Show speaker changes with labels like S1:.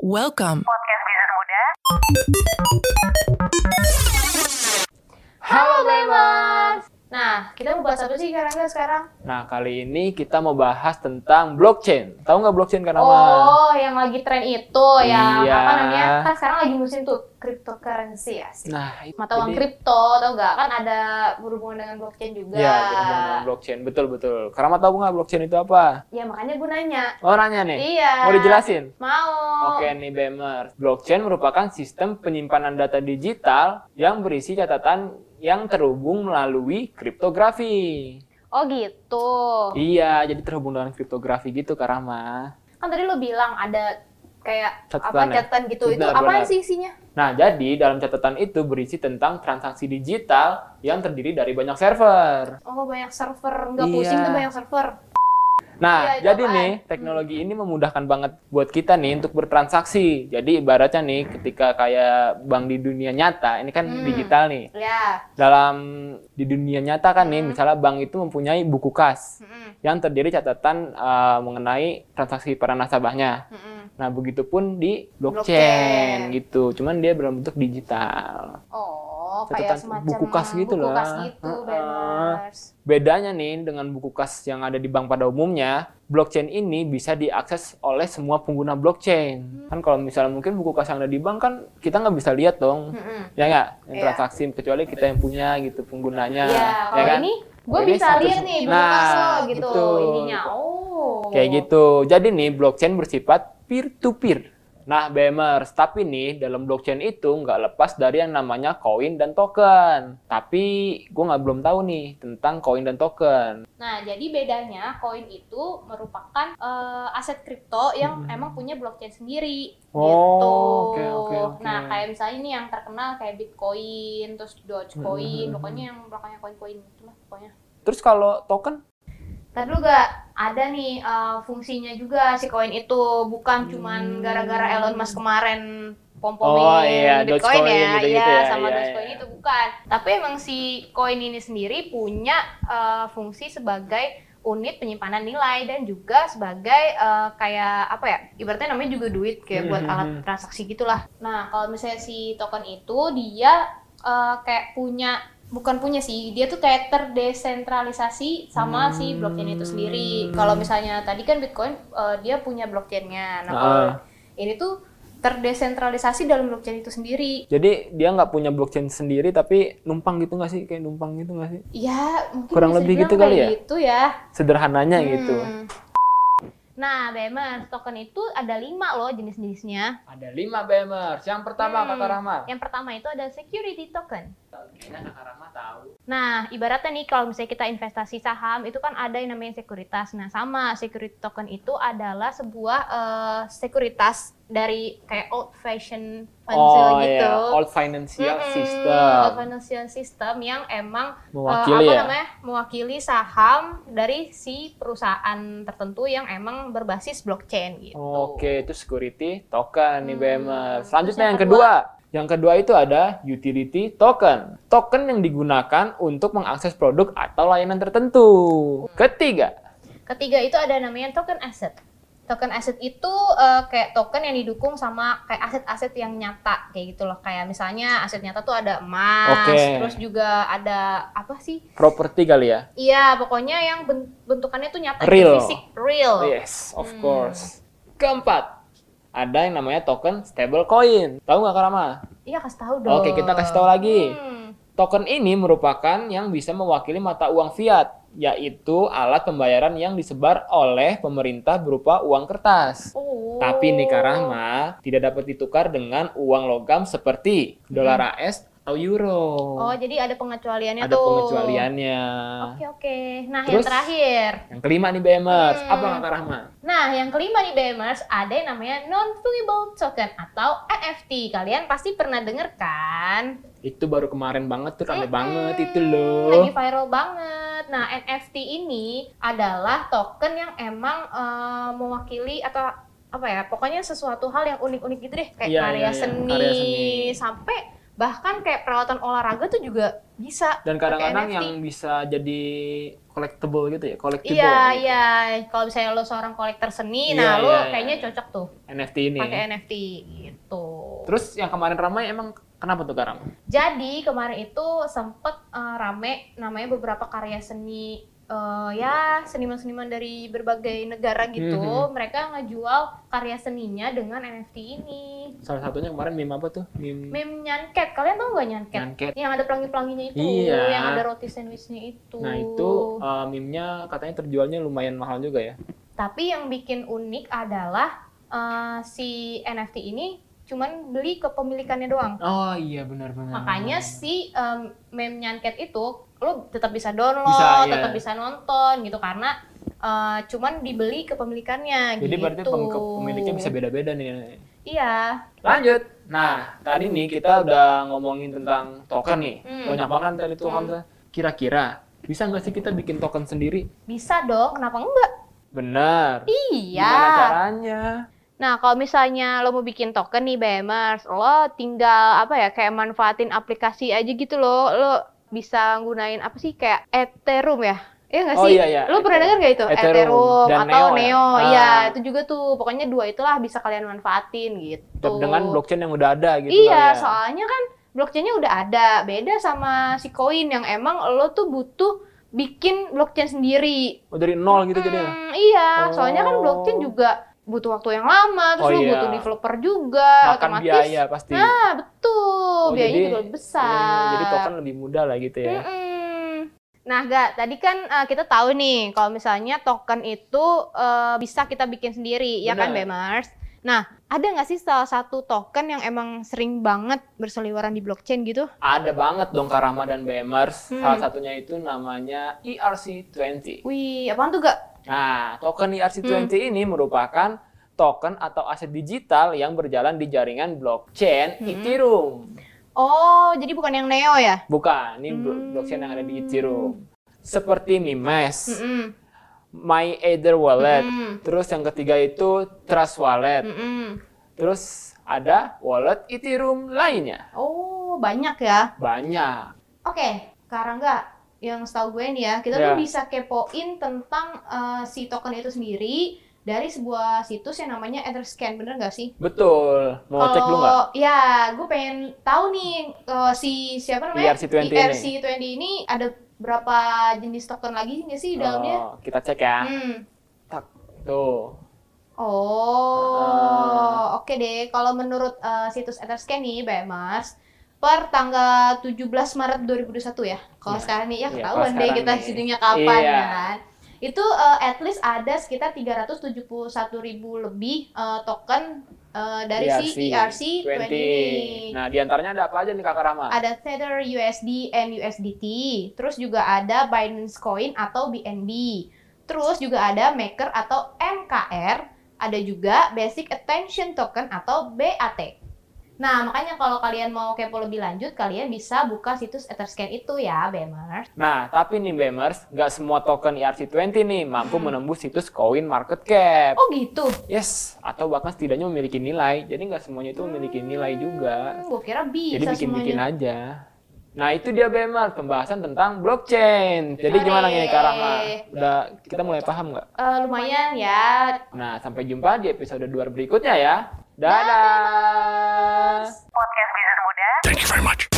S1: Welcome.
S2: podcast bisnis muda.
S3: Halo Blamers! Nah, kita mau bahas apa sih Kak Rangga sekarang?
S4: Nah, kali ini kita mau bahas tentang blockchain. Tahu nggak blockchain karena
S3: Oh, yang lagi tren itu, yang
S4: Iya.
S3: apa namanya? Kan sekarang lagi musim tuh cryptocurrency ya sih.
S4: Nah, itu
S3: Mata uang
S4: jadi-
S3: kripto, tau nggak? Kan ada berhubungan dengan blockchain juga.
S4: Ya, berhubungan dengan blockchain. Betul, betul. Karena tahu nggak blockchain itu apa?
S3: Ya, makanya gue nanya.
S4: Oh, nanya nih.
S3: Iya. Oh.
S4: Mau dijelasin?
S3: Mau.
S4: Oke nih Bemers, blockchain merupakan sistem penyimpanan data digital yang berisi catatan yang terhubung melalui kriptografi.
S3: Oh gitu.
S4: Iya, jadi terhubung dengan kriptografi gitu Karama.
S3: Kan tadi lo bilang ada kayak apa
S4: Catatan ya?
S3: catatan gitu. itu
S4: Benar,
S3: apaan
S4: benar.
S3: sih isinya?
S4: Nah, jadi dalam catatan itu berisi tentang transaksi digital yang terdiri dari banyak server.
S3: Oh, banyak server. Nggak
S4: Iya.
S3: pusing tuh banyak server. Iya,
S4: Nah,
S3: itu
S4: jadi
S3: apaan?
S4: nih teknologi ini memudahkan banget buat kita nih untuk bertransaksi. Jadi ibaratnya nih ketika kayak bank di dunia nyata, ini kan
S3: Hmm.
S4: digital nih.
S3: Ya.
S4: Dalam di dunia nyata kan nih,
S3: Hmm.
S4: misalnya bank itu mempunyai buku kas
S3: Mm-mm,
S4: yang terdiri catatan eh, mengenai transaksi para nasabahnya.
S3: mm-mm.
S4: Nah, begitupun di
S3: Blockchain.
S4: blockchain, gitu. Cuman dia berbentuk digital.
S3: Oh,
S4: Catatan
S3: kayak semacam
S4: buku kas gitu
S3: buku kas
S4: lah.
S3: gitu,
S4: Heeh.
S3: banners.
S4: Bedanya nih dengan buku kas yang ada di bank pada umumnya, blockchain ini bisa diakses oleh semua pengguna
S3: Hmm.
S4: blockchain. Kan kalau misalnya mungkin buku kas yang ada di bank kan kita nggak bisa lihat dong.
S3: Mm-mm.
S4: Ya nggak? Yang
S3: Hmm. Iya.
S4: transaksi kecuali kita yang punya gitu penggunanya.
S3: Iya, kalau
S4: kan?
S3: ini gue
S4: Ini
S3: bisa
S4: satu
S3: lihat
S4: se-
S3: nih buku
S4: Nah,
S3: kas lo gitu
S4: betul.
S3: ininya. Oh.
S4: Kayak gitu. Jadi nih blockchain bersifat peer to peer. Nah, Bemers, tapi nih dalam blockchain itu nggak lepas dari yang namanya koin dan token. Tapi gue nggak belum tahu nih tentang koin dan token.
S3: Nah, jadi bedanya koin itu merupakan eh, aset kripto yang
S4: Mm-mm.
S3: emang punya blockchain sendiri
S4: Oh,
S3: gitu.
S4: oke, oke, oke.
S3: Nah, kayak misalnya ini yang terkenal kayak Bitcoin, terus Dogecoin,
S4: Mm-mm.
S3: pokoknya yang belakangnya koin-koin itu lah pokoknya.
S4: Terus kalau token?
S3: Tadi juga ada nih eh, fungsinya juga si koin itu bukan cuman
S4: Hmm.
S3: gara-gara Elon Musk kemarin pom-pomin
S4: Oh, iya,
S3: Bitcoin
S4: Dogecoin
S3: ya,
S4: gitu-gitu
S3: Iya,
S4: ya,
S3: sama
S4: iya,
S3: Dogecoin
S4: iya.
S3: itu bukan. Tapi emang si koin ini sendiri punya eh, fungsi sebagai unit penyimpanan nilai dan juga sebagai eh, kayak apa ya ibaratnya namanya juga duit kayak buat
S4: Hmm.
S3: alat transaksi gitulah. Nah kalau misalnya si token itu dia eh, kayak punya bukan punya sih dia tuh kayak terdesentralisasi sama si
S4: Hmm.
S3: blockchain itu sendiri kalau misalnya tadi kan bitcoin eh, dia punya blockchainnya nah kalau
S4: Ah.
S3: ini tuh terdesentralisasi dalam blockchain itu sendiri
S4: Jadi dia nggak punya blockchain sendiri tapi numpang gitu nggak sih? Kayak numpang gitu nggak sih?
S3: ya mungkin
S4: Kurang
S3: bisa
S4: lebih
S3: dibilang
S4: gitu kali
S3: kayak
S4: ya?
S3: gitu ya
S4: Sederhananya
S3: Hmm.
S4: gitu.
S3: nah BMR token itu ada lima loh jenis-jenisnya
S4: Ada lima BMers. Yang pertama
S3: Hmm.
S4: Kakak Rahma.
S3: yang pertama itu ada security token
S4: Kayaknya Kakak Rahma tahu.
S3: Nah, ibaratnya nih kalau misalnya kita investasi saham itu kan ada yang namanya sekuritas. Nah, sama security token itu adalah sebuah eh, sekuritas dari kayak old fashion financial
S4: Oh
S3: gitu. Hmm.
S4: iya, old financial
S3: Mm-mm,
S4: system.
S3: Old financial system yang emang eh,
S4: Mewakili
S3: apa
S4: ya.
S3: namanya? mewakili saham dari si perusahaan tertentu yang emang berbasis blockchain gitu.
S4: Oke, itu security token nih
S3: Hmm.
S4: BMers.
S3: Terus
S4: Selanjutnya
S3: yang
S4: yang kedua. Yang kedua itu ada utility token. Token yang digunakan untuk mengakses produk atau layanan tertentu.
S3: Hmm.
S4: Ketiga,
S3: Ketiga itu ada namanya token asset. Token asset itu eh, kayak token yang didukung sama kayak aset-aset yang nyata kayak gitu loh. Kayak misalnya aset nyata tuh ada emas,
S4: Oke.
S3: terus juga ada apa sih?
S4: properti kali ya.
S3: Iya, pokoknya yang ben- bentukannya tuh nyata
S4: Real. Iya.
S3: gitu, fisik, real.
S4: Yes, of
S3: Hmm.
S4: course. Keempat, ada yang namanya token stablecoin. Tahu nggak Karama?
S3: Iya, kasih tahu dong.
S4: Oke, kita kasih tahu lagi.
S3: Hmm.
S4: Token ini merupakan yang bisa mewakili mata uang fiat, yaitu alat pembayaran yang disebar oleh pemerintah berupa uang kertas.
S3: Oh.
S4: Tapi nih Kak Rahma, tidak dapat ditukar dengan uang logam seperti dolar AS atau euro.
S3: Hmm. Oh, jadi ada pengecualiannya
S4: ada
S3: tuh.
S4: pengecualiannya.
S3: Oke, oke. Nah, yang
S4: Terus?
S3: terakhir.
S4: Yang kelima nih E BMers,
S3: Hmm.
S4: apa nggak Kak Rahma?
S3: Nah, yang kelima nih BMers, ada yang namanya non-fungible token atau NFT. Kalian pasti pernah denger kan?
S4: Itu baru kemarin banget tuh rame
S3: Mm-mm.
S4: banget itu
S3: Hmm. Lagi
S4: loh.
S3: viral banget. Nah, NFT ini adalah token yang emang eh, mewakili atau apa ya? Pokoknya sesuatu hal yang unik-unik gitu deh, kayak
S4: Iya,
S3: karya,
S4: iya, iya.
S3: seni,
S4: Karya seni.
S3: sampai bahkan kayak peralatan olahraga tuh juga bisa
S4: Dan
S3: pakai
S4: kadang-kadang
S3: NFT.
S4: yang bisa jadi collectible gitu ya, collectible.
S3: Iya, iya. Kalau misalnya lo seorang kolektor seni,
S4: Iya,
S3: nah lo
S4: iya, iya.
S3: kayaknya cocok tuh
S4: NFT ini. ya.
S3: pakai NFT gitu.
S4: Terus yang kemarin ramai emang kenapa tuh Karam?
S3: Jadi kemarin itu sempet eh, rame namanya beberapa karya seni eh, ya seniman-seniman dari berbagai negara gitu.
S4: Mhm.
S3: Mereka ngejual karya seninya dengan NFT ini.
S4: Salah satunya kemarin meme apa tuh? Meme
S3: Meme nyanket, kalian tau gak nyanket?
S4: Nyanket.
S3: Yang ada pelangi-pelanginya itu,
S4: Iya.
S3: yang ada roti sandwichnya itu.
S4: Nah itu eh, meme-nya katanya terjualnya lumayan mahal juga ya.
S3: Tapi yang bikin unik adalah eh, si NFT ini cuman beli kepemilikannya doang.
S4: Oh iya benar-benar.
S3: Makanya si em, meme nyanket itu lo tetap bisa download,
S4: Bisa, iya.
S3: tetap bisa nonton gitu karena eh, cuman dibeli kepemilikannya
S4: Jadi
S3: gitu.
S4: berarti pem- pemiliknya bisa beda-beda nih.
S3: Iya.
S4: Lanjut. Nah, tadi nih kita udah ngomongin tentang token nih.
S3: Hmm.
S4: Banyak banget tadi token
S3: Hmm.
S4: tuh. Kira-kira bisa nggak sih kita bikin token sendiri?
S3: Bisa dong, kenapa enggak?
S4: Benar.
S3: Iya.
S4: Gimana caranya?
S3: Nah, kalau misalnya lo mau bikin token nih BMers, lo tinggal apa ya kayak manfaatin aplikasi aja gitu lo. Lo bisa gunain apa sih kayak Ethereum ya? Iya nggak
S4: Oh,
S3: sih?
S4: iya, iya,
S3: Lo pernah
S4: Ethereum.
S3: dengar nggak itu?
S4: Ethereum dan
S3: atau
S4: Neo ya?
S3: Neo.
S4: Ah.
S3: Iya, itu juga tuh. Pokoknya dua itulah bisa kalian manfaatin gitu.
S4: Dengan blockchain yang udah ada gitu
S3: Iya,
S4: kali ya.
S3: soalnya kan blockchainnya udah ada. Beda sama si koin yang emang lo tuh butuh bikin blockchain sendiri.
S4: Oh, dari nol gitu jadinya.
S3: Hmm, iya, soalnya kan
S4: Oh.
S3: blockchain juga butuh waktu yang lama, terus
S4: Oh,
S3: lu
S4: iya.
S3: butuh developer juga,
S4: Makan
S3: otomatis.
S4: biaya pasti.
S3: Nah, betul,
S4: Oh,
S3: biayanya
S4: jadi-
S3: juga lebih besar. Hmm.
S4: Hmm, jadi token lebih mudah lah gitu ya.
S3: Mm-mm. Nah, Ga, tadi kan eh, kita tahu nih kalau misalnya token itu eh, bisa kita bikin sendiri, ya kan,
S4: Benar.
S3: Bemars? Nah, ada nggak sih salah satu token yang emang sering banget berseliweran di blockchain gitu?
S4: Ada banget dong Karama dan BMers.
S3: Hmm.
S4: Salah satunya itu namanya E ERC20.
S3: Wih, apaan tuh, Ga?
S4: Nah, token ERC20
S3: Hmm.
S4: ini merupakan token atau aset digital yang berjalan di jaringan blockchain
S3: Hmm.
S4: Ethereum.
S3: Oh, jadi bukan yang Neo ya?
S4: Bukan, ini blo-
S3: Hmm.
S4: blockchain yang ada di Ethereum. Seperti Mimes,
S3: Mm-mm.
S4: My Ether Wallet,
S3: Mm-mm.
S4: terus yang ketiga itu Trust Wallet,
S3: Mm-mm.
S4: terus ada wallet Ethereum lainnya.
S3: Oh, banyak ya.
S4: Banyak.
S3: Oke, sekarang nggak yang setahu gue nih ya, kita tuh
S4: Ya.
S3: bisa kepoin tentang eh, si token itu sendiri dari sebuah situs yang namanya Etherscan, bener nggak sih?
S4: Betul. Mau cek lu nggak?
S3: Kalau- Ya, gue pengen tahu nih eh, si siapa namanya? E
S4: ERC20 ini.
S3: ERC20 ini ada berapa jenis token lagi nggak sih di dalamnya?
S4: Oh, kita cek ya.
S3: Hmm.
S4: Tuh.
S3: Oh, oke deh. Kalau menurut eh, situs Etherscan nih, BMers, per tanggal 17 Maret 2021 ya. Kalau
S4: Iya.
S3: sekarang nih, ya
S4: Iya,
S3: ketahuan
S4: kalau
S3: deh
S4: sekarang
S3: kita
S4: nih.
S3: syutingnya kapan
S4: Iya.
S3: ya kan. Itu eh, at least ada sekitar 371.000 lebih eh, token eh, dari
S4: E
S3: si ERC20 ini.
S4: Nah, diantaranya ada apa aja nih Kakak Rama?
S3: Ada Tether USD and USDT, terus juga ada Binance Coin atau BNB, terus juga ada Maker atau MKR, ada juga Basic Attention Token atau BAT. Nah, makanya kalau kalian mau kepo lebih lanjut, kalian bisa buka situs Etherscan itu ya, Bemers.
S4: Nah, tapi nih Bemers, nggak semua token E ERC20 nih mampu
S3: Hmm.
S4: menembus situs coin market cap.
S3: Oh gitu?
S4: Yes, atau bahkan setidaknya memiliki nilai. Jadi nggak semuanya itu memiliki nilai
S3: Hmm,
S4: juga.
S3: Gue kira bisa
S4: Jadi bikin-bikin
S3: semuanya.
S4: aja. Nah, itu dia Bemers, pembahasan tentang blockchain. Jadi gimana nih Kak Rama? Udah kita mulai paham nggak?
S3: Eh, lumayan ya,
S4: Nah, sampai jumpa di episode 2 berikutnya ya. Dadah!
S1: Thank you very much.